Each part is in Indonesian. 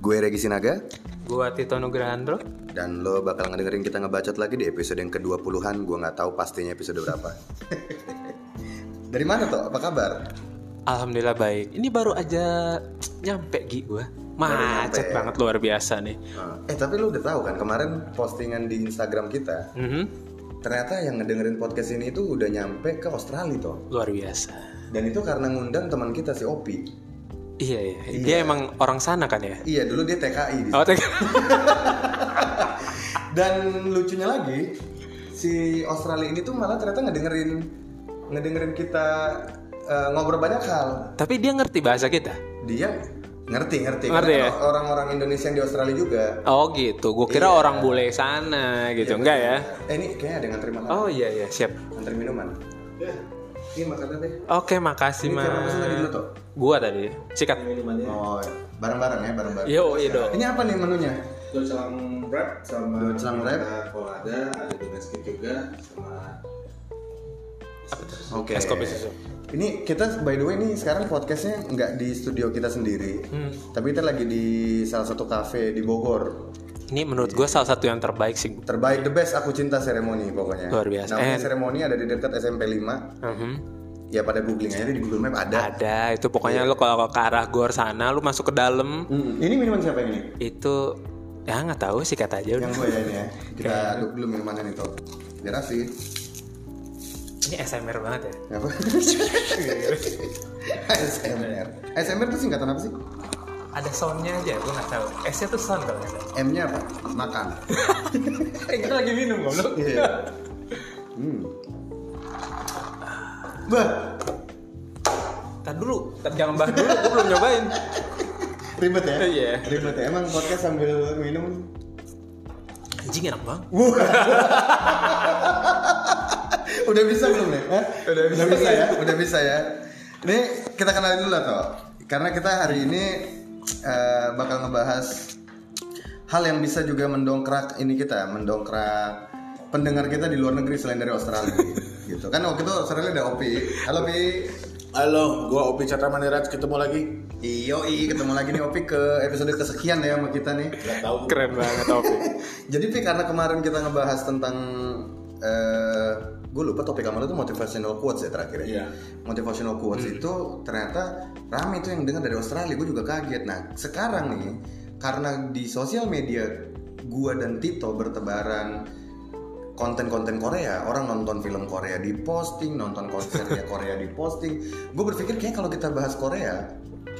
Gue Regi Sinaga Gua Tito Nugrahandro. dan lo bakal ngedengerin kita ngebacot lagi di episode yang ke-20-an. Gue nggak tahu pastinya episode berapa. Dari mana toh? Apa kabar? Alhamdulillah baik. Ini baru aja nyampe Gi gua. Macet nyampe. banget luar biasa nih. Eh tapi lo udah tahu kan kemarin postingan di Instagram kita Mhm. ternyata yang ngedengerin podcast ini itu udah nyampe ke Australia toh. Luar biasa. Dan itu karena ngundang teman kita si Opi. Iya, iya. Dia emang orang sana kan ya? Iya dulu dia TKI di Oh, teg- Dan lucunya lagi, si Australia ini tuh malah ternyata ngedengerin ngedengerin kita eh, ngobrol banyak hal. Tapi dia ngerti bahasa kita. Dia ngerti ngerti, Ngerti Karena ya? kan orang-orang Indonesia yang di Australia juga. Oh, gitu. Gua kira orang bule sana gitu. Enggak ya? Eh ini kayaknya ada yang ngantri makan, Oh, iya iya, siap. ngantri minuman. Ini makanan deh. Oke, makasih, Ini Mas. siapa pesen tadi dulu tuh? Gua tadi. Sikat. Oh, bareng-bareng ya, bareng-bareng. Yo, iya dong. Ini apa nih menunya? Docelang wrap sama Docelang wrap. ada kolada, ada domestik juga sama Oke. Es kopi susu. Ini kita by the way ini sekarang podcastnya nggak di studio kita sendiri, Hmm. tapi kita lagi di salah satu cafe di Bogor. Ini menurut gua salah satu yang terbaik sih. Terbaik the best aku cinta seremoni pokoknya. Luar biasa. Namanya And- seremoni ada di dekat SMP 5. Mhm. Ya pada googling aja di Google Map ada. Ada. Itu pokoknya lu kalau ke arah gor sana, lu masuk ke dalam, Hmm, Ini minuman siapa yang ini? itu ya nggak tahu sih kata aja udah Yang gue ya ini ya. Kita aduk dulu minumannya nih tuh. Biar asik. ini SMR banget ya Apa? Iya. ASMR. ASMR itu singkatan apa sih? ada soundnya aja gue nggak tahu S nya tuh sound kalau nggak salah M-nya apa? Makan. eh kita lagi minum goblok Iya. Hmm. Bah, tar dulu tar jangan bahas dulu gue belum nyobain ribet ya? Iya. Ribet ya. Emang podcast sambil minum anjing enak banget udah bisa belum nih? Hah? Udah bisa, ya, udah bisa ya. Ini kita kenalin dulu lah toh, karena kita hari ini eh, bakal ngebahas hal yang bisa juga mendongkrak ini kita, mendongkrak pendengar kita di luar negeri selain dari Australia. gitu kan waktu itu Australia ada Opi. Halo Opi. Halo, gua Opi Catra Maniraj ketemu lagi. Iyo ketemu lagi nih Opi ke episode kesekian ya sama kita nih. Gak tahu. keren banget Opi Jadi Pi karena kemarin kita ngebahas tentang eh gue lupa topik kamu itu motivational quotes ya terakhir ya. Iya. Motivational quotes itu ternyata rame itu yang dengar dari Australia, gue juga kaget. Nah sekarang nih karena di sosial media gue dan Tito bertebaran konten-konten Korea, orang nonton film Korea di posting, nonton konsernya Korea di posting. Gue berpikir kayak kalau kita bahas Korea,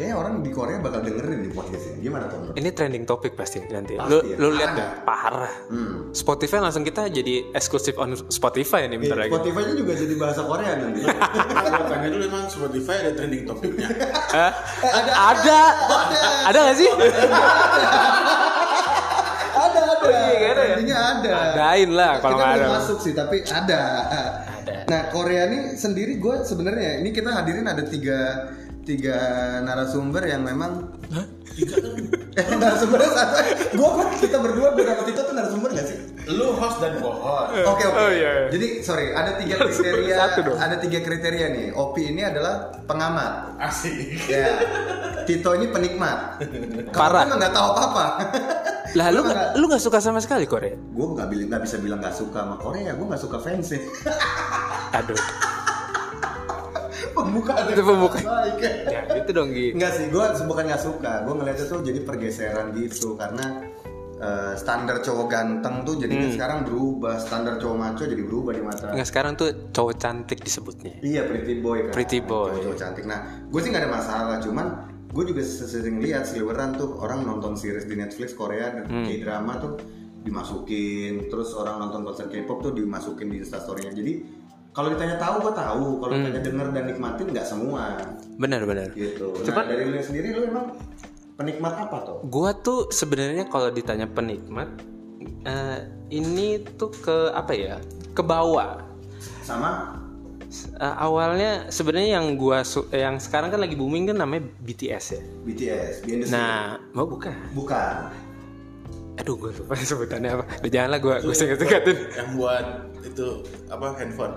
kayaknya orang di Korea bakal dengerin di podcast ini. Gimana tuh? menurut? ini trending topik pasti nanti Pasti lu ya. lu lihat Parah. deh parah Hmm. Spotify langsung kita jadi eksklusif on Spotify nih bentar Iya, lagi Spotify-nya juga jadi bahasa Korea nanti. Gua tanya dulu emang Spotify ada trending topiknya. Hah? ada Eh, ada ada nggak sih ada ada. iya, ada ya? Intinya ada. adain lah kita kalau nggak ada belum masuk sih, tapi ada. Nah, Korea ini sendiri gue sebenarnya ini kita hadirin ada tiga tiga narasumber yang memang Eh, narasumbernya satu gue kita berdua gue sama Tito tuh narasumber gak sih Lu host dan gua host. Oke oke. Oh, iya, iya. Jadi sorry ada tiga kriteria Satu dong. ada tiga kriteria nih. Opi ini adalah pengamat. Asik. Ya. Tito ini penikmat. Parah. Kamu kan nggak tahu apa-apa. lah lu Lu nggak- lu nggak suka sama sekali Korea gue nggak bilang nggak bisa bilang nggak suka sama Korea. Gue nggak suka ya. fansnya. aduh Pembukaan Itu pembukaan. Baik. ya gitu dong Gi Enggak sih, gue bukan nggak suka. Gue ngeliatnya tuh jadi pergeseran gitu karena eh, standar cowok ganteng tuh jadinya Hmm. sekarang berubah, standar cowok maco jadi berubah di mata. Nggak sekarang tuh cowok cantik disebutnya. Iya pretty boy kan. Pretty boy. Cowok cantik. Nah, gue sih nggak ada masalah, cuman gue juga sering lihat seliweran tuh orang nonton series di Netflix Korea dan Hmm. drama tuh dimasukin, terus orang nonton konser K-pop tuh dimasukin di instastorynya. Jadi kalau ditanya tahu gue tahu, kalau Hmm. ditanya denger dan nikmatin nggak semua Benar-benar. gitu. Cuman- nah, dari lu sendiri lu emang penikmat apa tuh? Gua tuh sebenarnya kalau ditanya penikmat, eh, ini tuh ke apa ya? Ke bawah. Sama S- eh, awalnya sebenarnya yang gua su- eh, yang sekarang kan lagi booming kan namanya BTS ya. BTS, Behind the Scene. Nah, mau bukan? bukan. Aduh, gue lupa sebutannya apa. Udah janganlah gue gue singkat-singkatin. Yang buat itu apa handphone.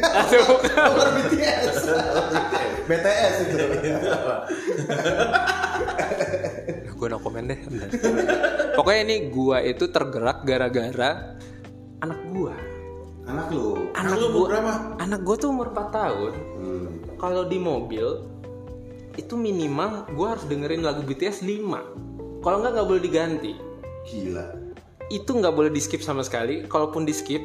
Aduh, bukan. Bukan BTS. BTS itu. gue no comment deh. Bentar. Pokoknya ini gua itu tergerak gara-gara anak gua. anak lu Anak gua lu umur berapa? Anak gua tuh umur 4 tahun. hmm. Kalau di mobil itu minimal gua harus dengerin lagu BTS 5. Kalau nggak nggak boleh diganti. gila Itu nggak boleh di skip sama sekali. Kalaupun di skip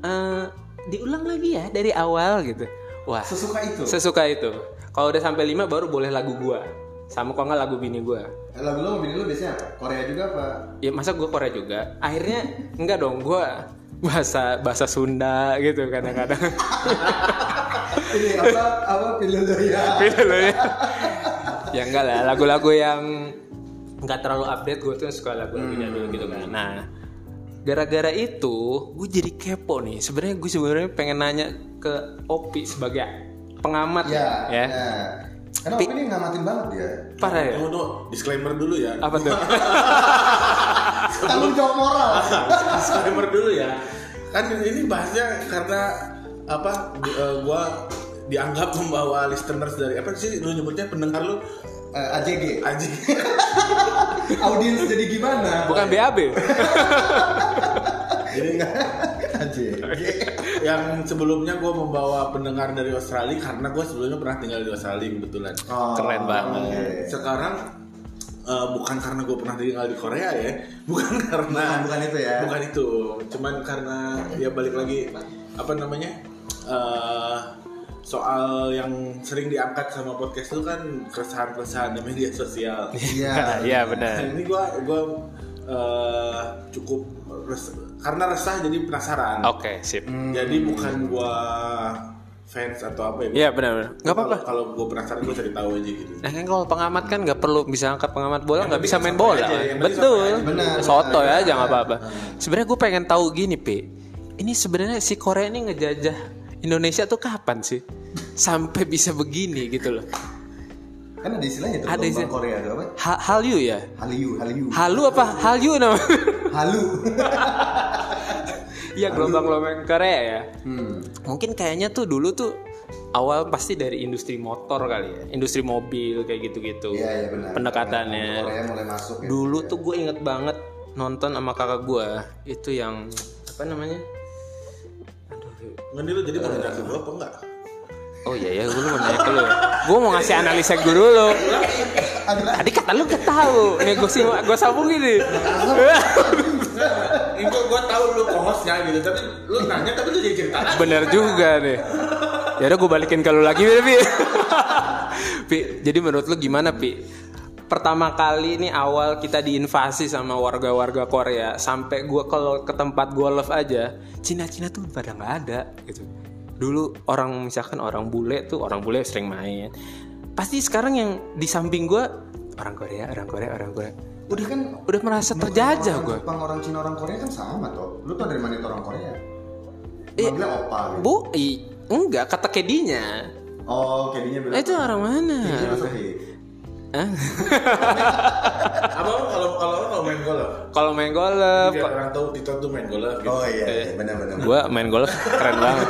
eh, diulang lagi ya dari awal gitu. Wah, sesuka itu sesuka itu. Kalau udah sampai 5 baru boleh lagu gua. Sama kalau nggak lagu bini gua. Eh, lagu lu sama bini lu biasanya apa? Korea juga apa ya masa gue Korea juga akhirnya enggak dong gue bahasa bahasa Sunda gitu kadang-kadang ini Iya, apa apa pilih lu ya Gitu loh ya. ya enggak lah lagu-lagu yang enggak terlalu update gue tuh suka lagu-lagu jadul gitu kan nah gara-gara itu gue jadi kepo nih sebenarnya gue sebenarnya pengen nanya ke Opi sebagai pengamat ya, ya nah. karena Tapi- Opi ini ngamatin banget ya parah ya Tunggu, tunggu. Disclaimer dulu ya. apa tuh tanggung jawab moral Ah, disclaimer dulu ya kan ini bahasnya karena apa di- eh, gua dianggap membawa listeners dari apa sih lu nyebutnya pendengar lu Eh, AJG anjing audiens jadi gimana bukan BAB jadi AJG yang sebelumnya gua membawa pendengar dari Australia karena gua sebelumnya pernah tinggal di Australia kebetulan Oh, Keren banget. oke. sekarang eh, bukan karena gue pernah tinggal di Korea ya bukan karena Bukan- bukan itu ya. bukan itu cuman karena ya balik lagi apa namanya eh, soal yang sering diangkat sama podcast itu kan keresahan-keresahan di media sosial Nah, Iya. ya benar ini gue gua eh, cukup res- karena resah jadi penasaran oke sip jadi bukan gua fans atau apa ya ya benar-benar nggak apa-apa Kalau- kalau gue penasaran gue cari tahu aja gitu Nah kan kalau pengamat kan nggak perlu bisa angkat pengamat bola Ya, nggak bisa main bola, aja, yang penting betul. aja. Benar, Soto benar. ya, jangan apa-apa. Sebenarnya gue pengen tahu gini pi, ini sebenarnya si Korea ini ngejajah Indonesia tuh kapan sih sampai bisa begini gitu loh? Kan ada istilahnya tuh Ada ada istilah- Korea tuh apa? Ha Hallyu ya? Hallyu, Hallyu. Halu apa Hallyu namanya? Halu. Iya gelombang gelombang Korea ya. hmm. Mungkin kayaknya tuh dulu tuh awal pasti dari industri motor kali ya, industri mobil kayak gitu-gitu. Iya, iya benar. Pendekatannya. Karena Korea mulai masuk ya. Dulu tuh gue inget banget nonton sama kakak gue itu yang apa namanya? Nggak nih lu jadi mau Eh. nanya ke gue apa enggak? Oh iya ya, gue mau nanya ke lu. Gue mau ngasih analisa gue dulu. Aduh, Tadi kata lu gak tahu. Nih gue sih gue sambung gini. Itu gue tahu lu co-hostnya gitu, tapi lu nanya tapi lu jadi cerita lagi. Bener juga nih. Ya udah gue balikin ke lu lagi Pi. Pi. Pi, jadi menurut lu gimana Pi? Pertama kali ini awal kita diinvasi sama warga-warga Korea sampai gua kalau ke tempat gua love aja, Cina-Cina tuh pada nggak ada gitu. Dulu orang misalkan orang bule tuh orang bule sering main. Pasti sekarang yang di samping gua orang Korea, orang Korea, orang Korea. udah kan Udah merasa terjajah orang gua. Jepang, orang Cina, orang Korea kan sama toh. Lu tau dari mana itu orang Korea? Manggilnya opa gitu. Bu, i- enggak kata kedinya. Oh, kayaknya bilang. Iya, Eh, itu orang mana? Kayaknya lu sepi. Apa lu kalau kalau lu kalau main golf? Kalau main golf, Biar orang tahu Tito tuh main golf gitu. Oh iya, iya Eh. benar benar. gue main golf keren banget.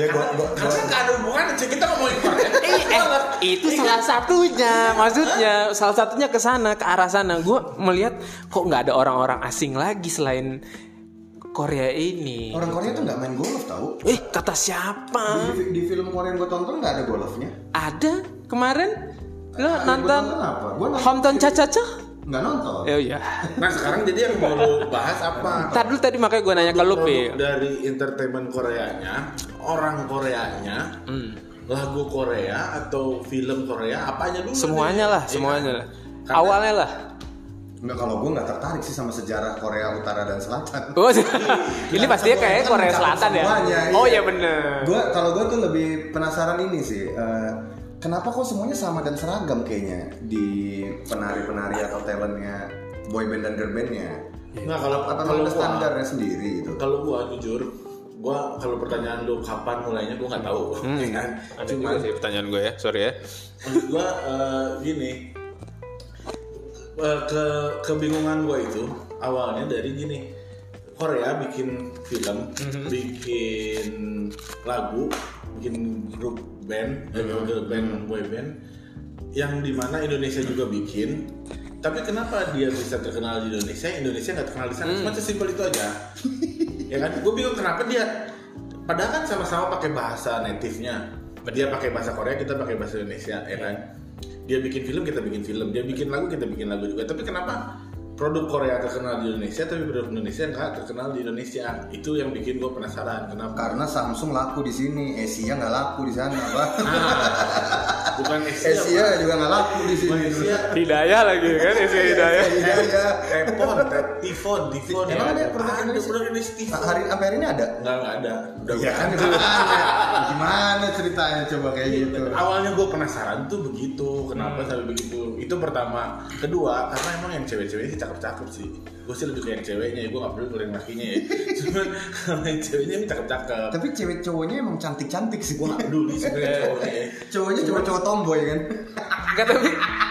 Dia gua gua, gua Karena nggak ada hubungan, cuy kita ngomongin Korea. Eh, eh, itu salah satunya, maksudnya salah satunya ke sana, ke arah sana. Gue melihat kok nggak ada orang-orang asing lagi selain Korea ini. orang Korea tuh nggak main golf tau. Eh, kata siapa? Di, di film Korea yang gua tonton nggak ada golfnya. Ada kemarin lo Yang gua nonton apa? Gua nonton Hometown Cha-Cha-Cha? nggak nonton. Eh, iya. Nah sekarang jadi yang mau lu bahas apa? Tadi dulu tadi makanya gue nanya ke lu, Pi. Produk dari entertainment Koreanya, orang Koreanya, Hmm. lagu Korea atau film Korea, apanya dulu? Semuanya nih? lah, Iya semuanya kan? lah. Karena- Awalnya lah. Nggak kalau gua nggak tertarik sih sama sejarah Korea Utara dan Selatan. Oh, ini pastinya Semua kayak kan Korea mencakup Selatan ya. semuanya, Oh iya. ya bener. Gua kalau gua tuh lebih penasaran ini sih. eh, kenapa kok semuanya sama dan seragam kayaknya di penari-penari atau talentnya boyband dan girl bandnya? Nah kalau Apa memang ada kalau gua- standarnya sendiri gitu? Kalau gua jujur, gua kalau pertanyaan lu kapan mulainya gua nggak tahu. ya kan? Cuma pertanyaan gue ya, sorry ya. maksud gua eh, gini Eh, ke kebingungan gua itu awalnya dari gini Korea bikin film, Mhm. bikin lagu, bikin grup Mhm. band, eh, girl band, boy band, yang dimana Indonesia juga bikin, Tapi kenapa dia bisa terkenal di Indonesia, Indonesia nggak terkenal di sana? Hmm. Cuma sesimpel itu aja. ya kan? Gue bingung kenapa dia. Padahal kan sama-sama pakai bahasa native-nya. Dia pakai bahasa Korea, kita pakai bahasa Indonesia, ya kan? Iya. Dia bikin film, kita bikin film. Dia bikin lagu, kita bikin lagu juga. Tapi kenapa produk Korea terkenal di Indonesia, tapi produk Indonesia nggak terkenal di Indonesia? Itu yang bikin gue penasaran. Kenapa? Karena Samsung laku di sini, Asia nggak laku di sana, Pak. Bukan Asia. Asia juga nggak laku di Bukan sini. Asia. Hidayah lagi kan Esi Hidayah. Iya, iya. Tepon, te- tifon, tifon. ya. Emang ada produk Ada Indonesia? produk Indonesia tifon. Hari sampai hari ini ada. Enggak, enggak ada. Udah Iya kan bukan. ceritanya. Gimana ceritanya coba kayak gitu. Awalnya gue penasaran tuh begitu, kenapa Hmm. sampai begitu? Itu pertama. Kedua, karena emang yang cewek-ceweknya sih cakep-cakep sih. Gue sih lebih ke yang ceweknya, ya, gue gak perlu ngeliat lakinya ya. Cuman karena yang ceweknya emang cakep-cakep. Tapi cewek cowoknya emang cantik-cantik sih. Gue gak peduli Iya. sebenarnya cowoknya. ya. Cowoknya cowok-cowok tomboy kan. Enggak tapi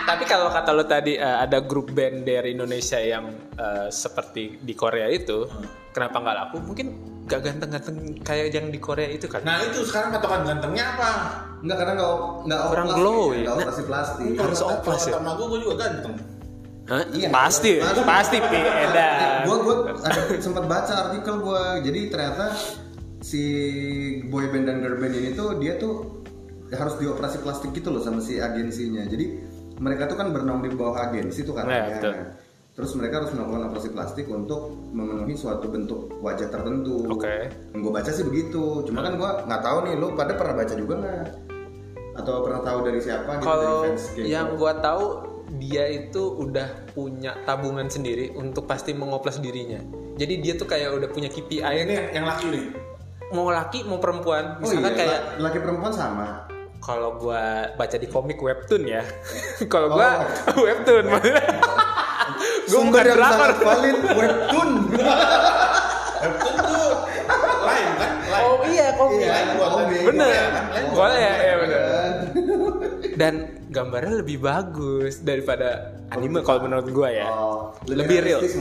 tapi kalau kata lo tadi eh, ada grup band dari Indonesia yang eh, seperti di Korea itu, kenapa nggak laku? Mungkin gak ganteng-ganteng kayak yang di Korea itu kan. Nah itu sekarang patokan gantengnya apa? Enggak karena nggak nggak Orang oplas, glow, ya. ya. Nggak operasi plastik. Harus Kalau oplas ya? kata Sama gue, gue juga ganteng. Hah? Iya, pasti, pasti. pasti, Pi. Edan. Gue gue sempat baca artikel gue. Jadi ternyata si boy band dan girl band ini tuh dia tuh harus dioperasi plastik gitu loh sama si agensinya. Jadi mereka tuh kan bernaung di bawah agensi tuh Iya, katanya. betul. Terus mereka harus melakukan operasi plastik untuk memenuhi suatu bentuk wajah tertentu. Oke. Gue baca sih begitu. Cuma kan gue nggak tahu nih. Lo pada pernah baca juga nggak? Atau pernah tahu dari siapa? gitu, dari Kalau fans kayak yang gua tahu dia itu udah punya tabungan sendiri untuk pasti mengoplas dirinya. Jadi dia tuh kayak udah punya KPI Ini yang, yang laki nih. mau laki mau perempuan. Oh Misalkan iya, kayak la- laki perempuan sama. kalau gua baca di komik webtoon ya. kalau gua webtoon. gua Oh. Iya. Sumber bukan yang drakor. sangat valid webtoon. Itu tuh lain kan? Lain. Oh iya komik. Iya, buatan. komik. Bener. Komik. Boleh, ya, iya, bener. Kan? Dan gambarnya lebih bagus daripada anime kalau menurut gua ya. Oh, lebih lebih real. realistis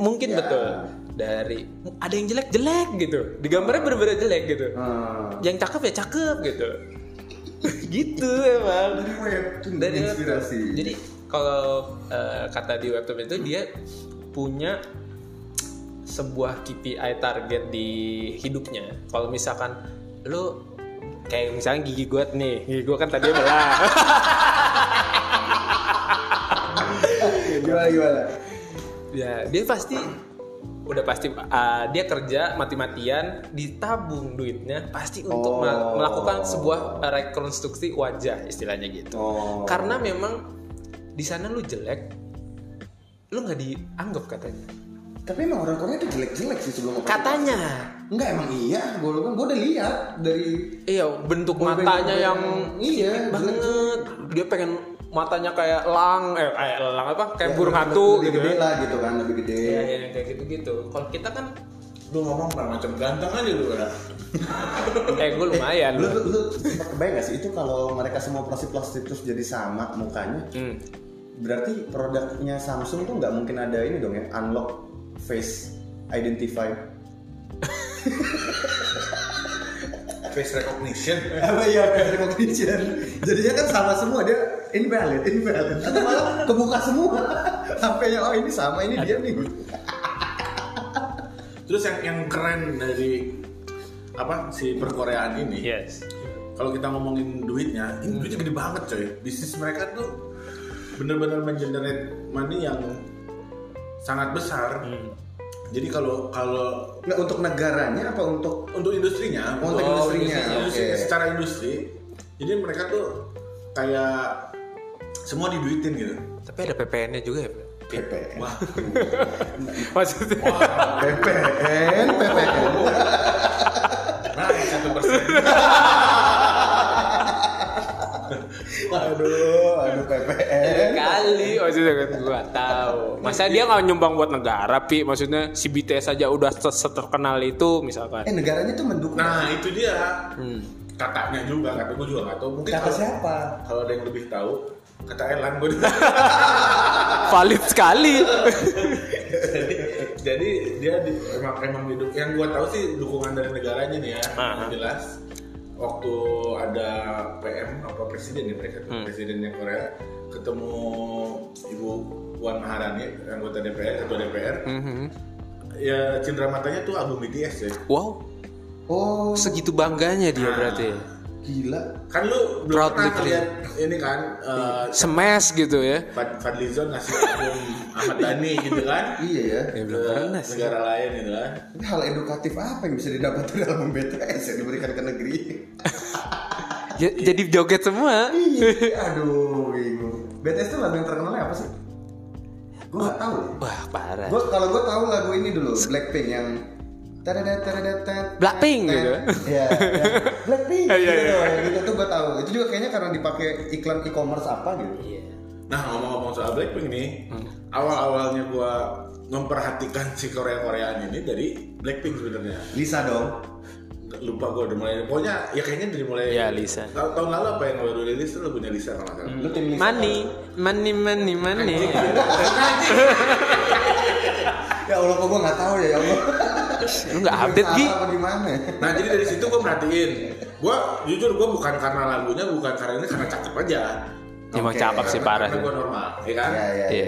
mungkin. Ya. betul. Dari ada yang jelek-jelek gitu. Di gambarnya bener-bener jelek gitu. Hmm. Yang cakep ya cakep gitu. gitu emang. Webtoon Dan dari inspirasi. webtoon. Jadi kalau eh, kata di webtoon itu dia punya sebuah KPI target di hidupnya. Kalau misalkan lu kayak misalnya gigi gue nih, gigi gue kan tadi belah. gimana gimana? ya dia pasti udah pasti uh, dia kerja mati-matian ditabung duitnya pasti untuk mel- Oh. melakukan sebuah uh, rekonstruksi wajah istilahnya gitu Oh. karena memang di sana lu jelek lu nggak dianggap katanya Tapi emang orang Korea itu jelek-jelek sih sebelum operasi. katanya Enggak emang iya, gue kan gue udah lihat dari iya bentuk Boyband- matanya boyband yang yang- iya, sipit banget dia pengen matanya kayak lang eh kayak lang apa kayak ya, burung lebih- hantu lebih gitu gede ya. lah gitu kan, lebih gede. Iya, iya, kayak gitu-gitu kalau kita kan Lu ngomong macam ganteng aja lu. Ra. eh gue lumayan Lu lu, lu sempat kebayang gak sih itu kalau mereka semua operasi plastik terus jadi sama mukanya? Hmm. Berarti produknya Samsung tuh nggak mungkin ada ini dong ya, unlock face identify. Face recognition. Apa ya face recognition? Jadinya kan sama semua dia invalid, invalid. Atau malah kebuka semua. Sampai oh ini sama ini dia nih. Terus yang yang keren dari apa si perkoreaan ini? Iya. yes Kalau kita ngomongin duitnya, Hmm. ini duitnya gede banget coy. Bisnis mereka tuh bener-bener mengenerate money yang sangat besar. Hmm. Hmm. Jadi kalau kalau Nah, untuk negaranya apa untuk untuk industrinya, Oh, Untuk industrinya, oke. industri- secara industri, jadi mereka tuh kayak semua diduitin gitu. Tapi ada PPN-nya juga ya, Pak? PPN? Wah, Maksudnya iya. PPN, PPN. nah satu persen. Waduh, aduh PPN. kali maksudnya kan gua tahu. Masa dia nggak nyumbang buat negara, Pi? Maksudnya si BTS aja udah se- seterkenal itu Eh misalkan. negaranya tuh mendukung. Nah itu dia. Hmm. katanya juga kata gue juga nggak tahu mungkin Kata kalau- siapa? kalau ada yang lebih tahu kata Elan gue Valid sekali. jadi, jadi dia di- emang emang hidup yang gue tahu sih dukungan dari negaranya nih ya Aha. yang jelas waktu ada Hmm. PM apa presiden ya mereka tuh, presidennya Korea ketemu ibu Puan Maharani anggota DPR ketua DPR Mhm. ya cindera matanya tuh album BTS ya Wow, Oh, segitu bangganya dia Ah. berarti. gila. kan lu belum Proud pernah gitu. ngeliat ini kan eh, Smash gitu ya. Fad- Fadlizon ngasih album Ahmad Dhani gitu kan Iya ya. Ya ke belum pernah sih. negara lain gitu kan Tapi hal edukatif apa yang bisa didapat dari album BTS yang diberikan ke negeri? Ya, jadi joget semua. Iya. Aduh, bingung. BTS itu lagu yang terkenalnya apa sih? Gue nggak tahu. Wah, parah. Gue kalau gue tahu lagu ini dulu Blackpink yang taradat, taradat, tat, Blackpink tat. gitu. Iya. yang Blackpink. Iya, Iya, iya. Itu tuh gue tahu. Itu juga kayaknya karena dipakai iklan e-commerce apa gitu. Iya. nah ngomong-ngomong soal Blackpink nih Hmm. awal-awalnya gua memperhatikan si Korea-Koreaan ini dari Blackpink sebenarnya Lisa dong. lupa gua udah mulai pokoknya ya kayaknya dari mulai Ya, Lisa. Hmm. tahun, tahun lalu apa yang baru rilis tuh lagunya Lisa kalau nggak salah Lu tim Lisa. Money, money, money, money. Ya Allah, kok gue nggak tahu ya, ya Allah. Lu nggak update Gi? Apa gimana? ya? Nah jadi dari situ gue merhatiin Gue jujur gue bukan karena lagunya Bukan karena ini karena cakep aja Emang Oke. cakep sih parah. Karena gue normal ya kan Ya, ya. Iya.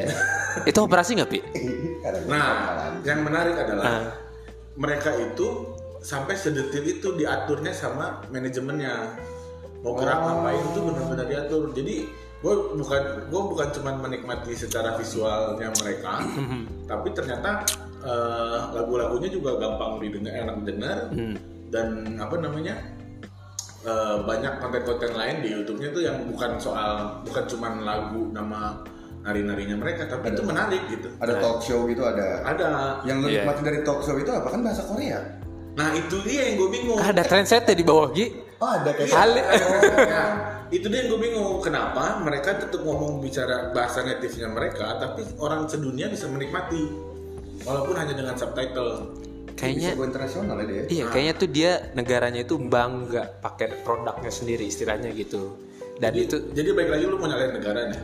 Itu operasi nggak pi? Karena gua Nah kepakalan. yang menarik Ah. adalah Mereka itu sampai sedetil itu diaturnya sama manajemennya Mau gerak ngapain itu benar-benar diatur Jadi gue bukan gue bukan cuman menikmati secara visualnya mereka tapi ternyata eh, lagu-lagunya juga gampang didengar enak didengar Hmm. dan apa namanya eh, banyak konten-konten lain di YouTube-nya tuh yang bukan soal bukan cuman lagu nama nari-narinya mereka tapi itu menarik gitu Ada talk show gitu ada. ada Yang lu Iya. nikmatin dari talk show itu apa kan bahasa Korea? nah itu dia yang gue bingung Ah, ada trendsetnya di bawah Gi. Oh ada kayak Hal- Nah, itu dia yang gue bingung kenapa mereka tetap ngomong bicara bahasa native-nya mereka tapi orang sedunia bisa menikmati walaupun hanya dengan subtitle bisa Kayaknya gue internasional ya dia. Iya, kayaknya tuh dia negaranya itu bangga pakai produknya sendiri istilahnya gitu. Dan itu jadi baik lagi lu mau nyalain negara nih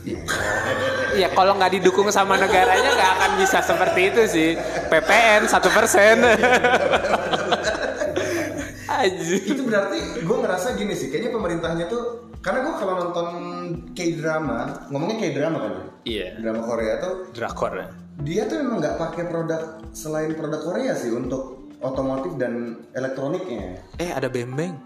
Iya. ya kalau nggak didukung sama negaranya nggak akan bisa seperti itu sih. PPN satu persen. Itu berarti gue ngerasa gini sih, kayaknya pemerintahnya tuh karena gue kalau nonton K-drama, ngomongnya K-drama kan ya? Iya. Drama Korea tuh Drakor. ya. dia tuh memang nggak pakai produk selain produk Korea sih untuk otomotif dan elektroniknya. Eh ada Beng Beng.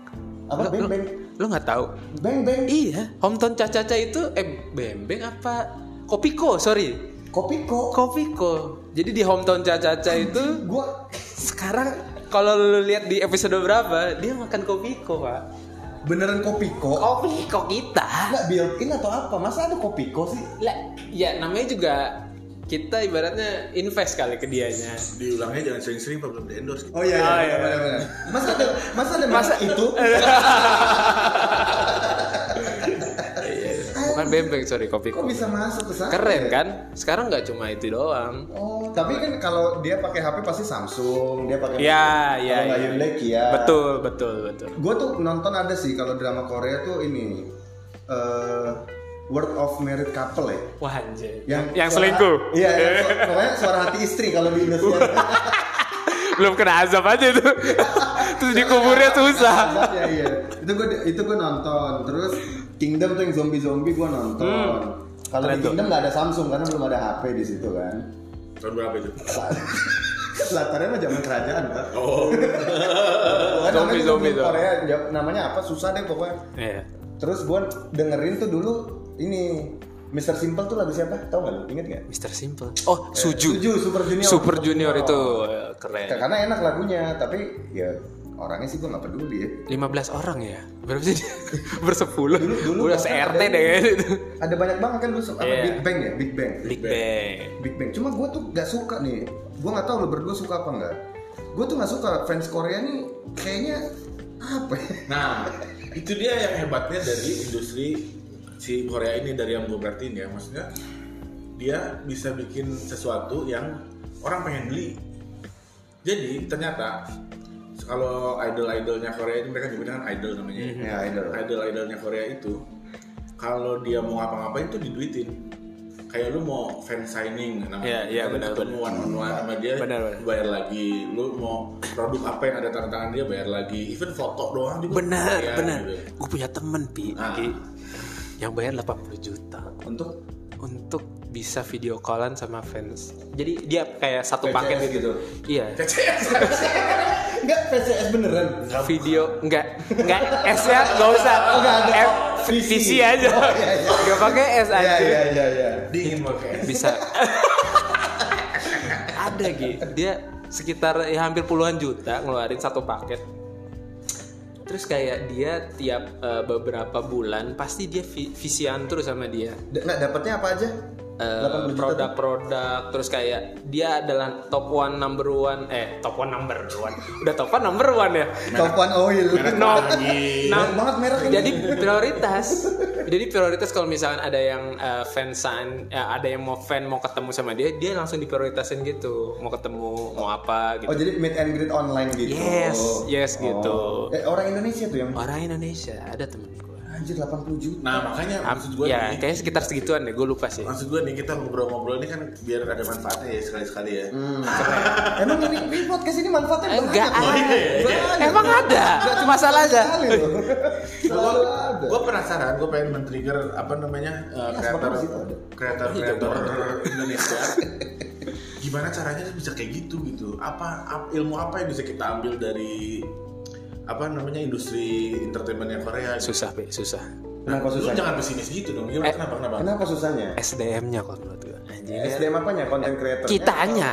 Apa Lo- beng beng lo- Lo nggak tahu? beng beng Iya. Hometown Caca-Caca itu eh Beng Beng apa? Kopiko, sorry. Kopiko. Kopiko. Jadi di Hometown Caca-Caca itu Gue sekarang kalau lu lihat di episode berapa dia makan kopiko pak beneran Oh. Kopiko. kopiko kita Nggak built in atau apa? Masa ada Kopiko sih? lah ya namanya juga kita ibaratnya invest kali ke dianya diulangnya jangan sering-sering Pak, belum di endorse Oh iya, Oh, iya. iya, benar benar. Masa ada masa ada Masa- merek Iya. itu? bukan bembeng sorry Kok kopiko bisa masuk ke sana? keren ya? kan sekarang nggak cuma itu doang Oh, tapi kan kalau dia pakai HP pasti Samsung, dia pakai ya kalau ya, nggak ya. Hyundai Kia. betul betul betul Gue tuh nonton ada sih kalau drama Korea tuh ini eh Word of Married Couple ya. wah anjir Yang, yang suara- selingkuh Iya, yang su- pokoknya suara hati istri kalau di Indonesia. belum kena azab aja itu terus dikuburnya susah Iya, iya. Itu gue itu gue nonton. Terus Kingdom tuh yang zombie-zombie gue nonton. Kalau di Hmm. Keren tuh. Kingdom nggak ada Samsung karena belum ada HP di situ kan. tahun berapa itu Latarnya mah zaman kerajaan kan. oh Zombie, zombie, zombie. Korea jam- ya. namanya apa susah deh pokoknya. Iya. Terus gue dengerin tuh dulu ini Mr. Simple tuh lagu siapa? Tahu nggak lu? Ingat nggak? Mr. Simple oh Eh, suju Suju, Super Junior. Oh. Super Junior itu eh, keren. Ya, Karena enak lagunya, tapi ya orangnya sih gue nggak peduli ya. 15 orang ya? Berapa sih? dia? Bersepuluh. Dulu- dulu Udah bahkan se-RT ada deh yang- kayaknya itu. Ada banyak banget kan lu se- apa, Iya. Big Bang ya, Big Bang. Big Bang. Big Bang. Cuma gue tuh gak suka nih. Gue nggak tahu lo berdua suka apa nggak. Gue tuh nggak suka fans Korea nih kayaknya apa ya? nah itu dia yang hebatnya dari industri si Korea ini dari yang gue perhatiin ya maksudnya dia bisa bikin sesuatu yang orang pengen beli jadi ternyata kalau idol-idolnya Korea ini mereka nyebutnya kan idol namanya ya. Ya idol. idol-idolnya Korea itu kalau dia mau ngapa-ngapain tuh diduitin kayak lu mau fan signing namanya Iya, iya, Lu benar, ketemu one on one sama dia Benar, benar. bayar lagi lu mau produk apa yang ada tanda tangan dia bayar lagi even foto doang juga Benar, Iya, bayar, benar. gitu. Gue punya temen, Pi. Ah. Ki, Yang bayar 80 juta Untuk untuk bisa video callan sama fans. Jadi dia kayak satu PCS paket gitu. Iya. PCS Enggak PCS beneran. Video enggak enggak S ya enggak usah. Enggak ada F VC. VC aja. Oh, iya, iya. Enggak pakai S aja. Iya iya iya iya. dingin pakai Bisa. ada Gi. Dia sekitar ya, hampir puluhan juta ngeluarin satu paket. Terus kayak dia tiap eh, beberapa bulan pasti dia vi- visian terus sama dia. D- nah, dapatnya apa aja? Eh, 80 juta produk-produk terus kayak dia adalah top one number one eh top one number one udah top one number one ya Topan oil. gitu. no Anjing. Banyak Nah, banget merek ini. jadi prioritas jadi prioritas kalau misalkan ada yang eh, fansan eh, ada yang mau fan mau ketemu sama dia dia langsung diprioritasin gitu mau ketemu mau apa Oh gitu jadi meet and greet online gitu. Yes, yes, gitu. Eh, orang Indonesia tuh yang orang Indonesia ada temen gue anjir 80 juta. nah makanya maksud gue ya nih, kayaknya sekitar segituan deh gue lupa sih maksud gue nih kita ngobrol-ngobrol ini kan biar ada manfaatnya ya sekali-sekali ya Hmm. Emang ini, ini podcast ini manfaatnya Eh, banyak Hmm. enggak loh. Oh, iya, ada. Banyak. emang ada masalahnya Sekali loh. Selalu ada. gue penasaran gue pengen men-trigger apa namanya uh, kreator sebab di situ ada. kreator Iya, kreator Indonesia gimana caranya bisa kayak gitu gitu apa ap- ilmu apa yang bisa kita ambil dari apa namanya industri entertainmentnya Korea gitu. susah be susah Kenapa lu susahnya? jangan pesimis gitu dong Eh, gimana kenapa kenapa Kenapa susahnya? SDM-nya kalau menurut gue anjing SDM apanya? Konten creator. Eh, kitanya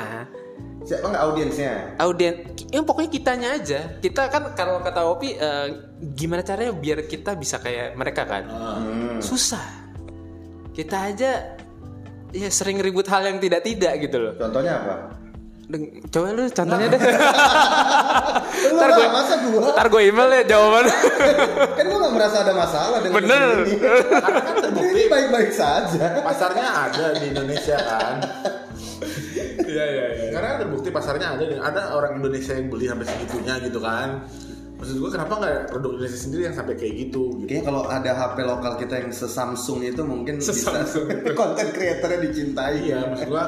Siapa nggak audiensnya? audien yang pokoknya kitanya aja kita kan kalau kata Opi eh, gimana caranya biar kita bisa kayak mereka kan susah kita aja ya sering ribut hal yang tidak tidak gitu loh Contohnya apa? Deng- coba lu contohnya deh Lu ntar lah, gue masa gua? ntar gue email ya jawaban Kan gua nggak merasa ada masalah dengan Bener. ini. kan Ini baik-baik saja. pasarnya ada di Indonesia kan iya iya karena terbukti pasarnya ada dan ada orang Indonesia yang beli sampai segitunya gitu kan maksud gue kenapa nggak produk Indonesia sendiri yang sampai kayak gitu gitu Kayaknya kalau ada HP lokal kita yang se-Samsung itu mungkin Se-Samsung. bisa konten kreatornya dicintai Iya, maksud gua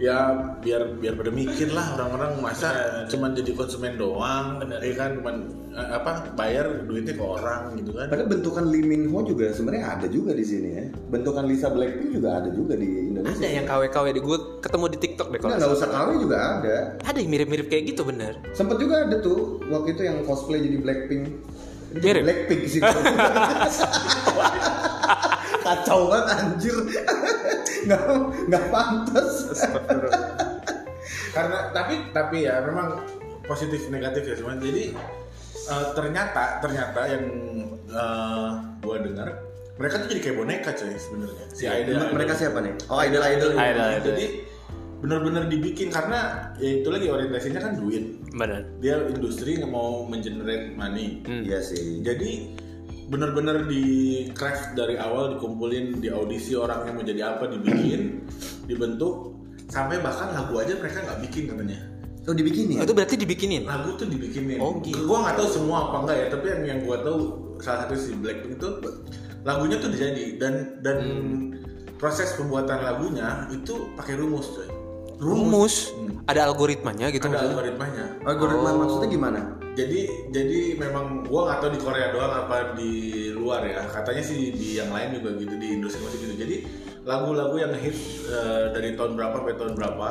ya biar biar pada mikir lah orang-orang masa Iya, cuman jadi konsumen doang, ya kan cuman eh, apa bayar duitnya ke orang gitu kan. Padahal bentukan Lee Min Ho juga sebenarnya ada juga di sini ya. Bentukan Lisa Blackpink juga ada juga di Indonesia. ada yang KW KW di gue ketemu di TikTok deh Nggak, kalau nggak nggak usah KW juga ada. salah. ada yang mirip mirip kayak gitu bener Sempet juga ada tuh waktu itu yang cosplay jadi Blackpink. Jadi Mirip. Blackpink sih. Kacau banget anjir. Nggak nggak pantas. Karena tapi tapi ya memang positif negatif ya cuman jadi eh, ternyata ternyata yang eh, gua dengar mereka tuh jadi kayak boneka coy sebenarnya. Si Iya, idol Mereka siapa nih? Oh idol idol. Idol, idol. Jadi bener-bener dibikin karena ya itu lagi orientasinya kan duit. bener Dia industri nggak mau mengenerate money. Iya sih. Jadi bener-bener di craft dari awal dikumpulin di audisi orangnya mau jadi apa dibikin, dibentuk sampai bahkan lagu aja mereka nggak bikin katanya. Oh dibikin ya? itu berarti dibikinin Lagu tuh dibikinin. Oh, gitu. Gua nggak tahu semua apa enggak ya, tapi yang yang gua tahu salah satu si Blackpink itu lagunya tuh dijadi dan dan Hmm. proses pembuatan lagunya itu pakai rumus coy. rumus Hmm. ada algoritmanya gitu Ada maksudnya algoritmanya. Oh. Algoritma maksudnya gimana? Jadi jadi memang gua nggak tahu di Korea doang apa di luar ya. Katanya sih di yang lain juga gitu di industri musik gitu. Jadi lagu-lagu yang hit eh, dari tahun berapa sampai tahun berapa.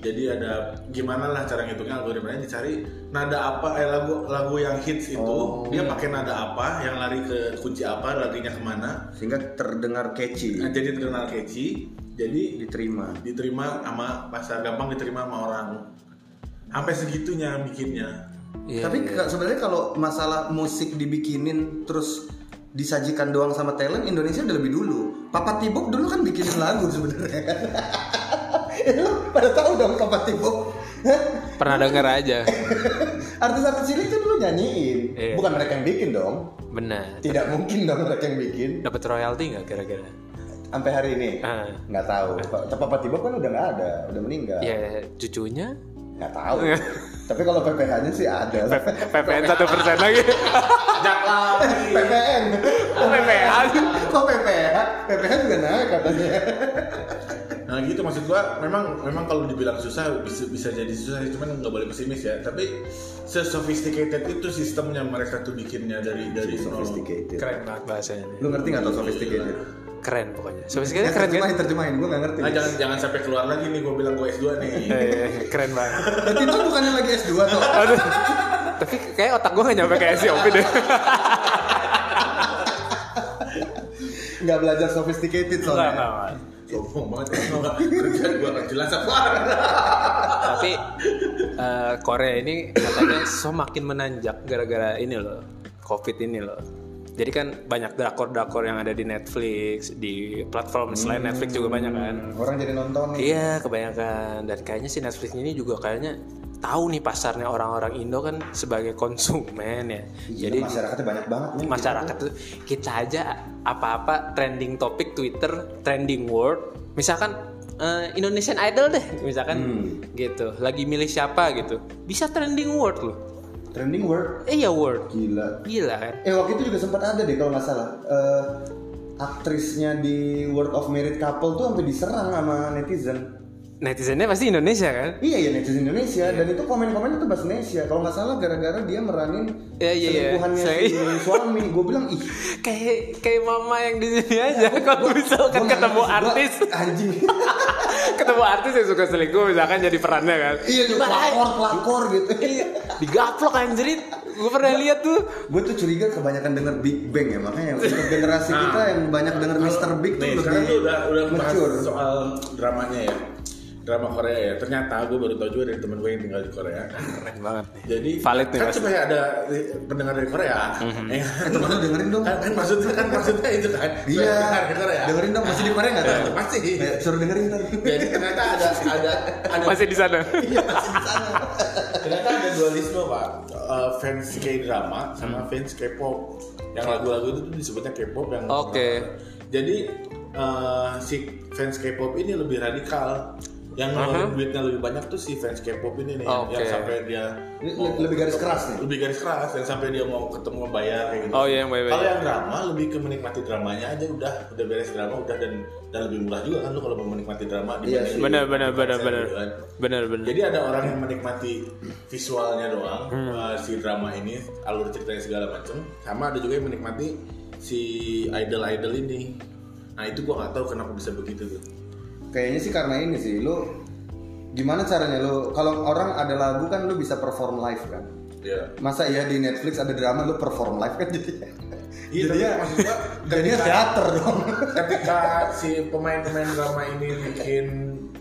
Jadi ada gimana lah cara ngitungnya algoritmanya dicari nada apa eh lagu lagu yang hits itu dia pakai nada apa yang lari ke kunci apa larinya kemana Sehingga terdengar catchy, Nah, jadi terkenal catchy jadi diterima. diterima sama pasar gampang diterima sama orang sampai segitunya bikinnya Iya, Tapi iya. ka- sebenarnya kalau masalah musik dibikinin terus disajikan doang sama talent Indonesia udah lebih dulu. Papa Tibok dulu kan bikinin lagu sebenarnya. Ya, Lu pada tahu dong Papa Tibok. Hah? pernah denger aja Artis-artis cilik kan dulu nyanyiin, Iya. bukan mereka yang bikin dong. benar Tidak mungkin dong mereka yang bikin dapat royalti nggak kira-kira sampai hari ini. Ah. Nggak tahu. Pa- Papa Tibok kan udah nggak ada, udah meninggal. ya cucunya Nggak tahu. Tapi kalau PPH-nya sih ada. PPN satu persen lagi PPN. PPN Kok PPH? PPH juga naik katanya. Nah gitu maksud gua memang memang kalau dibilang susah bisa, bisa jadi susah sih, cuman nggak boleh pesimis ya. Tapi sophisticated itu sistemnya mereka tuh bikinnya dari dari nol. Sophisticated. keren banget bahasanya Lu ngerti nggak tuh sophisticated? keren pokoknya. Sampai Ya, sekarang keren kan? terjemahin, terjemahin. Gue gak ngerti. Nah, jangan jangan sampai keluar lagi nih gue bilang gue S2 nih. Iya, iya, iya, keren banget. Dan itu bukannya lagi S2 tuh. Aduh. Tapi kayak otak gue gak nyampe kayak si ya. Opi deh. Nggak belajar sophisticated Nggak, soalnya. nggak, nggak. Sombong banget ya. Kerjaan gue gak jelas apa. Tapi eh, Korea ini katanya semakin menanjak gara-gara ini loh, COVID ini loh. Jadi kan banyak drakor-drakor yang ada di Netflix, di platform selain Netflix juga banyak kan. Orang jadi nonton nih. Iya, kebanyakan. Dan kayaknya si Netflix ini juga kayaknya tahu nih pasarnya orang-orang Indo kan sebagai konsumen Jadi ya. Jadi Iya, masyarakatnya gitu. banyak banget nih. masyarakat tuh kita aja apa-apa trending topik Twitter, trending word, misalkan eh, Indonesian Idol deh, misalkan Hmm. gitu. Lagi milih siapa gitu. Bisa trending word loh. Trending word. Eh ya word. Gila. Gila kan. Eh waktu itu juga sempat ada deh kalau nggak salah. Eh, aktrisnya di World of Married Couple tuh sampai diserang sama netizen. Netizennya pasti Indonesia kan? Iya ya netizen Indonesia Iya. dan itu komen-komennya tuh bahasa Indonesia. Kalau nggak salah gara-gara dia meranin Iya, iya, iya. selingkuhannya Saya- si suami. Gue bilang ih. Kayak kayak mama yang di sini aja kalau misalkan Iya, Kan gua ketemu nangis, gua- artis anjing. ketemu artis yang suka selingkuh misalkan jadi perannya kan iya lu pelakor pelakor gitu. digaplok anjrit gue pernah lihat tuh gue tuh curiga kebanyakan denger Big Bang ya makanya untuk generasi kita yang banyak denger Mr. Big tuh Ah. Nih, lebih sekarang tuh udah udah bahas mature. soal dramanya ya. Drama Korea ya. Ternyata gue baru tau juga dari temen gue yang tinggal di Korea. keren banget nih Jadi Valid nih, Mhm. kan pasti. cuma ya ada eh, pendengar dari Korea. Ya kan? Eh, temen lu dengerin dong. Kan, kan maksudnya kan maksudnya itu kan. Iya. Pendengar dari Korea. Dengerin dong masih di Korea nggak tuh? Nah, Pasti. Eh, suruh dengerin ntar. Jadi ternyata ada ada ada masih di sana Iya, masih di sana. Ternyata ada dualisme pak, Eh, fans K-drama sama fans K-pop. Yang lagu-lagu itu tuh disebutnya K-pop yang. Oke. Jadi eh, si fans K-pop ini lebih radikal. Yang ngeluarin duitnya lebih banyak tuh si fans K-pop ini nih, yang- yang Oke. sampai dia Le- le- lebih garis keras nih. lebih garis keras dan sampai dia mau ketemu bayar kayak gitu. Oh, iya, yang bayar-bayar. Kalau yang drama lebih ke menikmati dramanya aja udah udah beres drama udah dan dan lebih murah juga kan lu kalau mau menikmati drama Iya dibanding- sih. bener bener bener bener Gitu kan. bener bener Jadi ada orang yang menikmati visualnya doang Hmm. eh, si drama ini, alur ceritanya segala macam. Sama ada juga yang menikmati si idol-idol ini. Nah itu gua nggak tahu kenapa bisa begitu tuh. Kayaknya sih karena ini sih lu gimana caranya lu kalau orang ada lagu kan lu bisa perform live kan. Iya. Masa iya di Netflix ada drama lu perform live kan jadi. Iya, tapi Jadinya- maksud gua Jadinya ketika- teater dong. Ketika si pemain-pemain drama ini bikin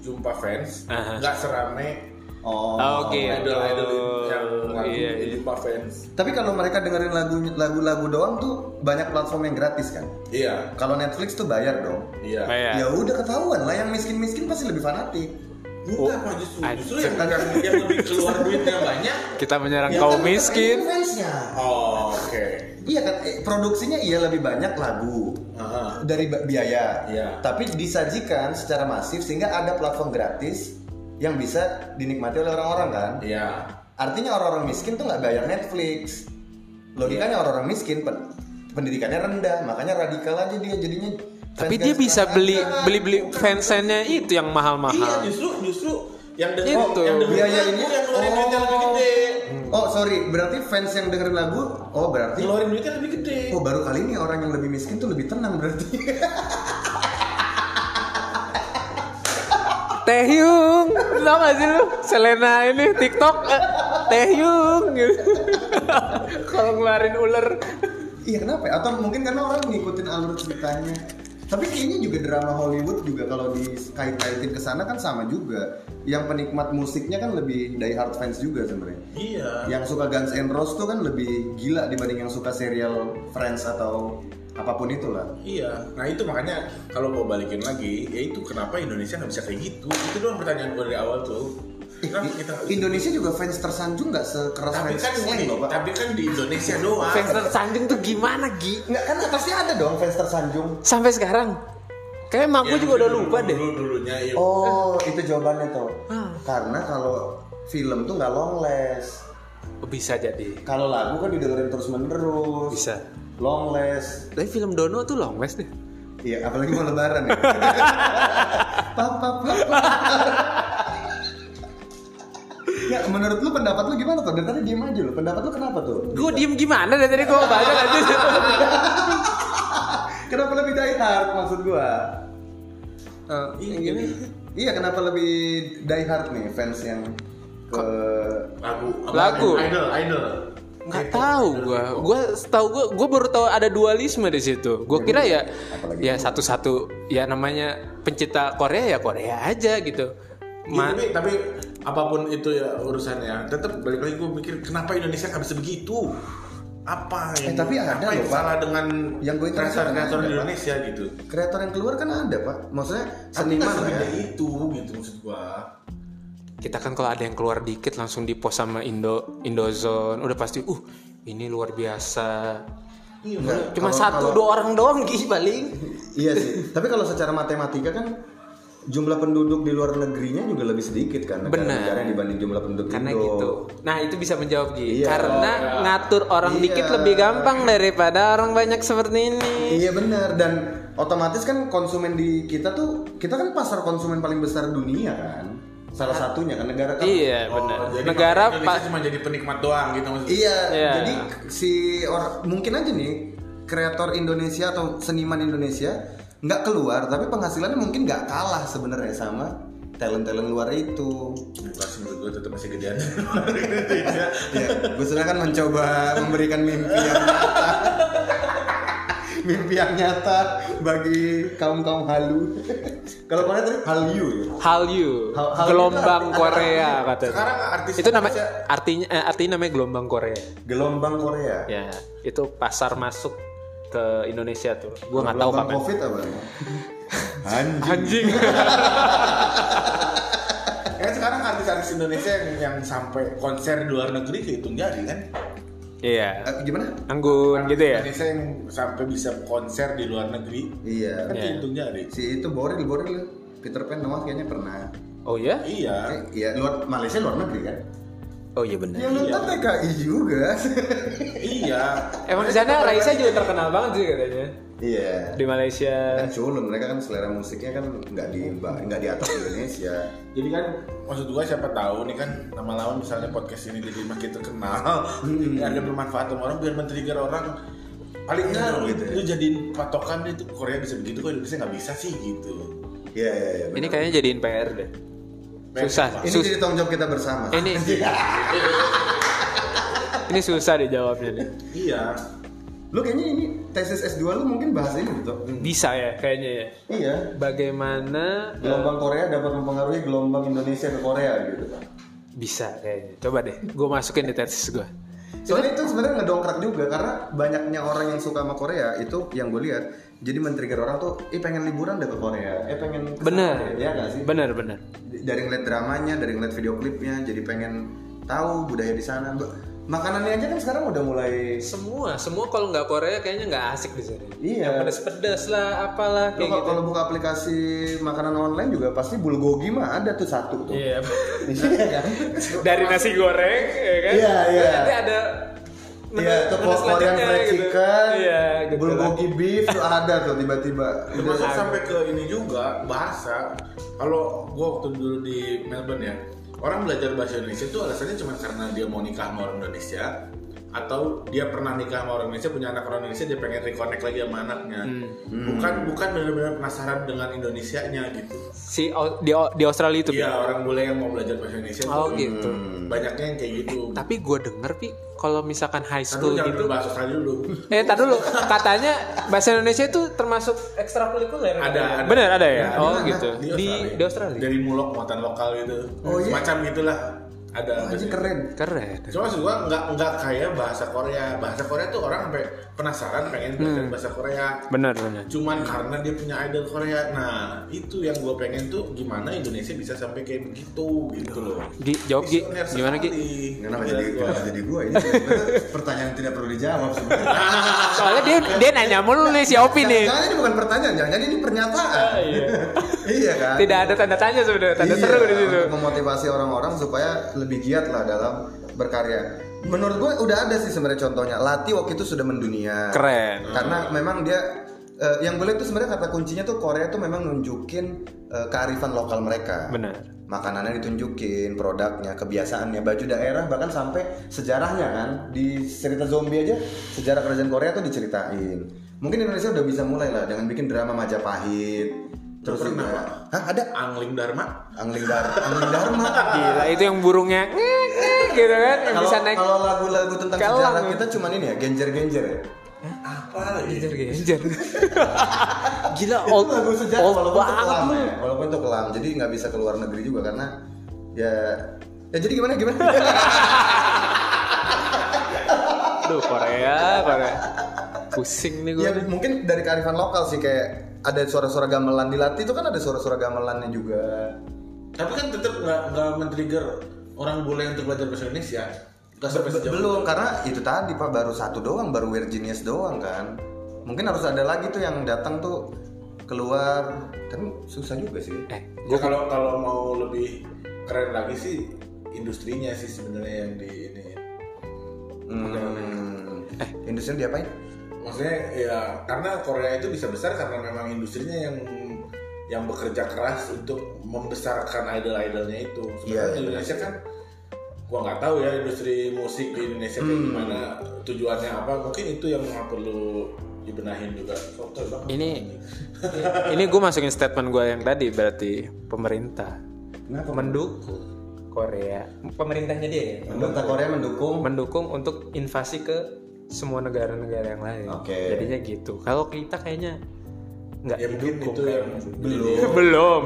jumpa fans, Aha. nggak serame Oh. Ah, Oke. idol-idol yang ngaku Iya, di iya. jumpa fans. Tapi kalau mereka dengerin lagu lagu-lagu doang tuh banyak platform yang gratis kan. Iya, Kalau Netflix tuh bayar dong. iya. Bayar. Ya udah ketahuan lah yang miskin-miskin pasti lebih fanatik. Enggak, Pak, justru, justru Anjir. yang, yang lebih keluar duitnya banyak. kita menyerang Ya kaum kan, itu miskin fansnya. Oh, oke. Iya kan eh, produksinya iya lebih banyak lagu Aha. dari ba- biaya. Iya. Tapi disajikan secara masif sehingga ada platform gratis yang bisa dinikmati oleh orang-orang kan. Iya. Artinya orang-orang miskin tuh nggak bayar Netflix. Logikanya Iya. orang-orang miskin pen- pendidikannya rendah, makanya radikal aja dia jadinya. tapi fans dia garis bisa keras. beli Enggak, beli beli bukan. fansennya itu yang mahal Iya mahal justru justru yang dengerin Itu. yang dengerin Biaya lagu, ini. yang ngeluarin Oh. duitnya lebih gede. Oh sorry, berarti fans yang dengerin lagu, oh berarti Ngeluarin duitnya lebih gede. Oh baru kali ini orang yang lebih miskin tuh lebih tenang berarti. Taehyung tau gak sih lu Selena ini TikTok eh, Taehyung gitu. kalau ngeluarin ular Iya kenapa? ya? Atau mungkin karena orang ngikutin alur ceritanya. Tapi kayaknya juga drama Hollywood juga kalau dikait-kaitin ke sana kan sama juga. Yang penikmat musiknya kan lebih die hard fans juga sebenarnya. Iya. Yang suka Guns N' Roses tuh kan lebih gila dibanding yang suka serial Friends atau apapun itulah. Iya. Nah itu makanya kalau mau balikin lagi, ya itu kenapa Indonesia nggak bisa kayak gitu? Itu doang pertanyaan gue dari awal tuh. Kenapa kita nggak bisa? Indonesia juga fans tersanjung nggak sekeras Nah, gitu. Tapi fans kan slang loh pak? tapi kan di Indonesia doang. fans tersanjung tuh gimana Gi Nggak kan pasti ada dong fans tersanjung. sampai sekarang kayak emak gue Yang juga udah Ya, dulu- lupa deh Dulu dulunya ya. Oh itu jawabannya tuh. Karena kalau film tuh nggak long last. Oh, bisa jadi Kalau lagu kan didengerin terus menerus. Bisa. Long last. tapi film Dono tuh long last deh Iya, apalagi mau lebaran ya. papa, papa. Ya, menurut lu pendapat lu gimana tuh? Dari tadi diem aja lu. Pendapat lu kenapa tuh? Gue diem gimana dari tadi gue baca aja. Kenapa lebih dari hard maksud gua. Eh, yang gini. Iya, kenapa lebih die hard nih fans yang ke lagu apa? Lagu. idol idol gitu. nggak tahu gua gua tahu gua gua baru tahu ada dualisme di situ gua kira ya ya satu-satu ya namanya pencipta Korea ya Korea aja gitu Ma- Iya, tapi, tapi apapun itu ya urusannya tetap balik lagi gue mikir kenapa Indonesia nggak bisa begitu apa Eh, yang tapi ada apa yang loh, Pak. salah dengan Yang gua interest kreator kreator ada, Pak. Indonesia gitu kreator yang keluar kan ada, Pak. Maksudnya tapi seniman lah nggak ya. segede itu gitu maksud gua kita kan kalau ada yang keluar dikit langsung di post sama Indo Indozone udah pasti uh ini luar biasa Iya, Nggak, cuma kalau- satu kalau- dua orang doang gih paling Iya sih. Tapi kalau secara matematika kan jumlah penduduk di luar negerinya juga lebih sedikit kan negara-negara Benar. dibanding jumlah penduduk karena Indo. gitu nah itu bisa menjawab Gi Iya. karena ngatur orang Iya. dikit lebih gampang daripada orang banyak seperti ini Iya benar dan otomatis kan konsumen di kita tuh kita kan pasar konsumen paling besar dunia kan. Salah satunya kan negara kan. iya Oh, benar jadi negara Indonesia pak cuma jadi penikmat doang gitu maksudnya Iya, Iya. jadi si orang mungkin aja nih kreator Indonesia atau seniman Indonesia nggak keluar tapi penghasilannya mungkin nggak kalah sebenarnya sama talent-talent luar itu. Pasti menurut gue tetap masih gedean Indonesia. Ya, Gus Sula kan mencoba memberikan mimpi yang nyata. mimpi yang nyata bagi kaum-kaum halu. Kalau mana tadi halu ya. Hallyu Hal- Hallyu gelombang itu arti- Korea artinya- katanya sekarang artis itu nama Indonesia- artinya eh, artinya namanya gelombang Korea Gelombang Korea. ya itu pasar masuk ke Indonesia tuh gue nggak tahu Gelombang kapan Covid apa? Anjing. anjing Ya kan sekarang artis-artis Indonesia yang, yang sampai konser di luar negeri kehitung jari kan iya Eh, gimana? anggun gitu ya Indonesia yang sampai bisa konser di luar negeri kan Iya. Iya. kehitung jari Si itu Boril, Boril Peter Pan Noah kayaknya pernah. oh ya iya Eh, Iya, luar Malaysia luar negeri kan? oh iya benar Ya lu ntar TKI juga. iya emang di sana Raisa juga terkenal banget sih katanya Iya. di Malaysia Kan culun mereka kan selera musiknya kan nggak di nggak di atas Indonesia. jadi kan maksud gua siapa tahu nih kan lama-lama misalnya podcast ini jadi makin terkenal ya ada bermanfaat sama orang biar men-trigger orang paling enggak lu, gitu ya. lu jadiin patokan itu Korea bisa begitu kok Indonesia nggak bisa sih gitu Iya, iya, iya. ini benar. kayaknya jadiin PR deh susah Ini sus- jadi tanggung jawab kita bersama. ini ini susah deh jawabnya deh iya Lu kayaknya ini tesis S2 lu mungkin bahas ini gitu. bisa ya kayaknya ya Iya. bagaimana Gelombang Korea dapat mempengaruhi gelombang Indonesia ke Korea gitu. bisa kayaknya coba deh gue masukin di tesis gue Soalnya itu sebenarnya ngedongkrak juga karena banyaknya orang yang suka sama Korea itu yang gue lihat jadi men-trigger orang tuh, eh pengen liburan deh ke Korea, eh pengen kesana bener deh." ya nggak sih? bener bener dari ngeliat dramanya, dari ngeliat video klipnya, jadi pengen tahu budaya di sana. Ba- Makanannya aja kan sekarang udah mulai semua semua kalau nggak Korea kayaknya nggak asik di sini Iya. yang pedes pedes lah apalah Lu kayak kalau- gitu kalau buka aplikasi makanan online juga pasti bulgogi mah ada tuh satu tuh. iya Iya. dari nasi goreng ya kan Iya, iya. nanti ada menu- Iya, tuh menu Korean selanjutnya fried gitu. chicken, iya gitu lah. Iya. bulgogi beef tuh ada tuh tiba-tiba. termasuk sampai ke ini juga bahasa kalau gua waktu dulu di Melbourne ya orang belajar bahasa Indonesia itu alasannya cuma karena dia mau nikah sama orang Indonesia atau dia pernah nikah sama orang Indonesia punya anak orang Indonesia dia pengen reconnect lagi sama anaknya Hmm. bukan bukan benar-benar penasaran dengan Indonesianya gitu si au- di, di Australia itu iya orang bule yang mau belajar bahasa Indonesia Gitu. oh tuh hmm, gitu banyaknya yang kayak gitu tapi gue denger pi kalau misalkan high Tapi school jangan gitu dulu bahasa Australia dulu Eh, tar dulu. Katanya bahasa Indonesia itu termasuk ekstrakurikuler. Ada, ada. Bener ada ya. Ada, oh ada. gitu. Di di Australia. dari mulok muatan lokal gitu Oh, iya? semacam gitulah Oh, ada Anjing keren. bahasa- Keren. Cuma maksud gua nggak nggak kayak bahasa Korea. Bahasa Korea tuh orang sampai penasaran pengen belajar Hmm. bahasa Korea. Bener bener. Cuman karena dia punya idol Korea. Nah itu yang gue pengen tuh gimana Indonesia bisa sampai kayak begitu gitu loh. Gi, jawab Gi. Visioner Gimana Gi? sekali. Kenapa Gila jadi Iya, gua. kenapa jadi gua ini? Sebenarnya Pertanyaan yang tidak perlu dijawab sebenarnya. Soalnya dia dia nanya mulu nih si Opi nih. Jangan ini bukan pertanyaan, jangan ini pernyataan. iya. iya kan? Tidak ada tanda tanya sebenarnya. Tanda Iya, seru di situ. untuk memotivasi orang-orang supaya lebih giat lah dalam berkarya. Menurut gue udah ada sih sebenarnya contohnya. Lati waktu itu sudah mendunia. Keren. Karena memang dia eh, yang gue lihat tuh sebenarnya kata kuncinya tuh Korea tuh memang nunjukin eh, kearifan lokal mereka. Bener. Makanannya ditunjukin, produknya, kebiasaannya, baju daerah bahkan sampai sejarahnya kan. Di cerita zombie aja sejarah kerajaan Korea tuh diceritain. Mungkin Indonesia udah bisa mulai lah dengan bikin drama Majapahit. Terus pernah, Pak. juga, Hah, ada Angling Dharma. Angling, Dar- Angling Dharma. Gila itu yang burungnya ngek, ngek, gitu kan Iya. yang Kalau bisa naik kalau lagu-lagu tentang Kelang. sejarah kita cuman ini ya, genjer-genjer ya. Apa lagi? genjer. Gila Itu old, lagu sejarah old walaupun itu banget kelam lu. ya. Walaupun itu kelam, jadi nggak bisa keluar negeri juga karena ya ya jadi gimana gimana Aduh Korea, Korea. Pusing nih gue. ya mungkin dari kearifan lokal sih kayak ada suara-suara gamelan di Lati itu kan ada suara-suara gamelannya juga Tapi kan tetap nggak nggak men-trigger orang bule untuk belajar bahasa Indonesia. Gak sampai Be- sejauh belum karena itu tadi pak baru satu doang baru weird genius doang kan mungkin harus ada lagi tuh yang datang tuh keluar tapi susah juga sih Eh, Ya kalau kalau mau lebih keren lagi sih industrinya sih sebenarnya yang di ini. hmm. industri diapain Maksudnya ya karena Korea itu bisa besar karena memang industrinya yang yang bekerja keras untuk membesarkan idol-idolnya itu. Sebenarnya Iya, iya. Indonesia kan gua nggak tahu ya industri musik di Indonesia kayak gimana tujuannya apa mungkin itu yang perlu dibenahin juga. Soto banget. kan ini Eh, ini gue masukin statement gue yang tadi berarti pemerintah Kenapa? mendukung Korea. Pemerintahnya dia ya. pemerintah Korea mendukung Mendukung untuk invasi ke semua negara-negara yang lain. Oke. Jadinya gitu. Kalau kita kayaknya nggak Ya mungkin didukung. itu yang belum belum, belum,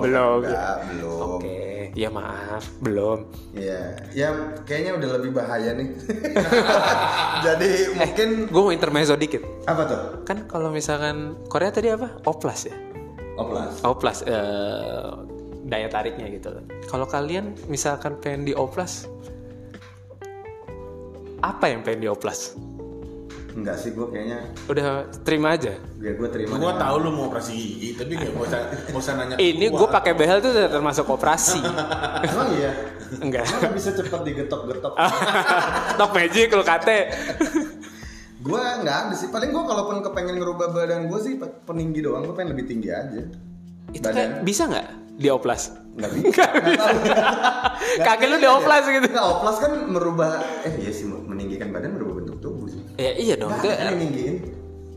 belum. Nggak, belum Oke, ya maaf, belum. Iya, ya kayaknya udah lebih bahaya nih. Jadi mungkin Gue mau intermezzo dikit. apa tuh? Kan kalau misalkan Korea tadi apa? Oplas ya. Oplas. Oplas eh, daya tariknya gitu loh. Kalau kalian misalkan pengen dioplas apa yang pengen dioplas? Enggak sih, gue kayaknya Udah terima aja. gue gue terima. Gua tahu lu mau operasi gigi, tapi gak mau usah, nggak usah nanya. ke Ini gue gua. pakai behel tuh udah termasuk operasi. Emang iya. Enggak. Emang bisa cepet digetok-getok. Top magic lu kate. gue nggak ada sih. Paling gue kalaupun kepengen ngerubah badan gue sih pe- peninggi doang. Gue pengen lebih tinggi aja. Itu badan. kayak bisa nggak dioplas? Nggak bisa. Kaki lu dioplas gitu. ya? Nggak, oplas kan merubah. Eh iya sih, meninggikan badan merubah bentuk tubuh sih. Ya iya dong. Nggak Itu, ada kan yang ninggiin.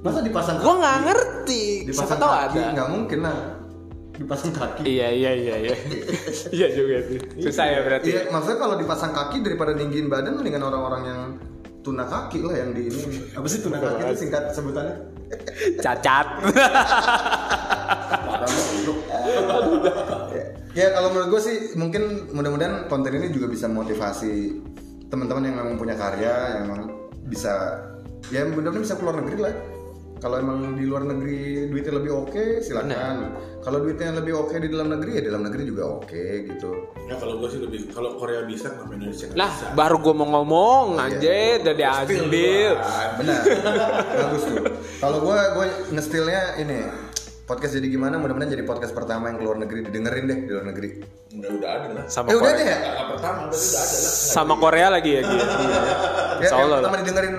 Masa dipasang gue nggak kaki? ngerti. Siapa Dipasang tahu kaki? ada. Nggak mungkin lah. Dipasang kaki. Iya iya iya iya. iya juga sih. Susah ya berarti. Iya, maksudnya kalau dipasang kaki daripada ninggiin badan mendingan orang-orang yang tuna kaki lah yang di ini. Apa sih tuna kaki itu singkat sebutannya? Cacat. ya kalau menurut gue sih mungkin mudah-mudahan konten ini juga bisa motivasi teman-teman yang memang punya karya yang memang bisa ya mudah-mudahan bisa keluar negeri lah. Kalau emang di luar negeri duitnya lebih oke silakan. Kalau duitnya lebih oke di dalam negeri ya dalam negeri juga oke gitu. Ya kalau gue sih lebih kalau Korea bisa kenapa Indonesia nggak lah bisa? baru gue mau ngomong Iya. anjir udah Still diambil. duluan. Benar. Bagus tuh. Kalau gue gue ngestilnya ini podcast jadi gimana mudah-mudahan jadi podcast pertama yang keluar negeri didengerin deh di luar negeri. Udah udah ada lah. Sama Eh udah Korea. deh ya. Kakak pertama berarti udah ada lah. Sama Korea lagi ya dia. Ya, Insya yang Allah lah. pertama didengerin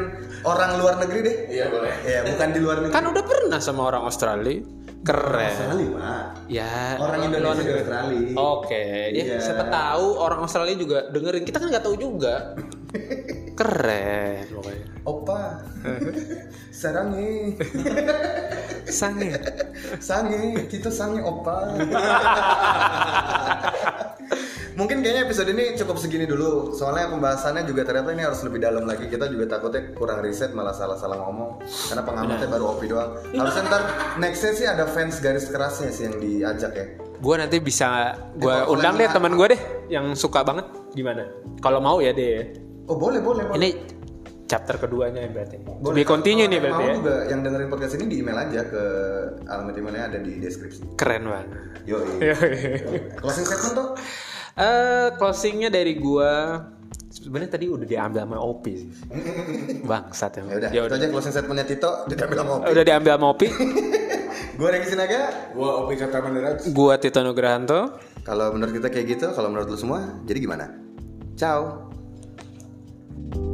orang luar negeri deh. Iya boleh. Ya bukan di luar negeri. Kan udah pernah sama orang Australia. Keren. Australia, Pak. Ya. Orang Indonesia di Australia. Oke, ya Iya. siapa tahu orang Australia juga dengerin. Kita kan nggak tahu juga. Keren pokoknya. Opa. Sarangi. Sange. Sangi, kita sangi opa. Mungkin kayaknya episode ini cukup segini dulu. Soalnya pembahasannya juga ternyata ini harus lebih dalam lagi. Kita juga takutnya kurang riset malah salah-salah ngomong. Karena pengamatnya baru opi doang. Harusnya ntar nextnya sih ada fans garis kerasnya sih yang diajak ya. Gue nanti bisa gue Eh, kalau undang deh kalian- teman gue deh yang suka banget gimana? Kalau mau ya deh. ya. Oh boleh boleh boleh. Ini chapter keduanya ya berarti. boleh. Lebih continue Kalau nih yang berarti mau ya. juga yang dengerin podcast ini di email aja ke alamat emailnya ada di deskripsi. Keren banget. Yo. Closing statement tuh. Eh closingnya dari gua sebenarnya tadi udah diambil sama Opi sih. Ya Bangsat udah, ya. Ya itu udah. Ya aja closing statementnya Tito diambil sama Opi. Udah diambil sama Opi. Gue Regi Sinaga, Gua Opi kata Manderaj. Gua Tito Nugrahanto. Kalau menurut kita kayak gitu, kalau menurut lu semua, jadi gimana? Ciao.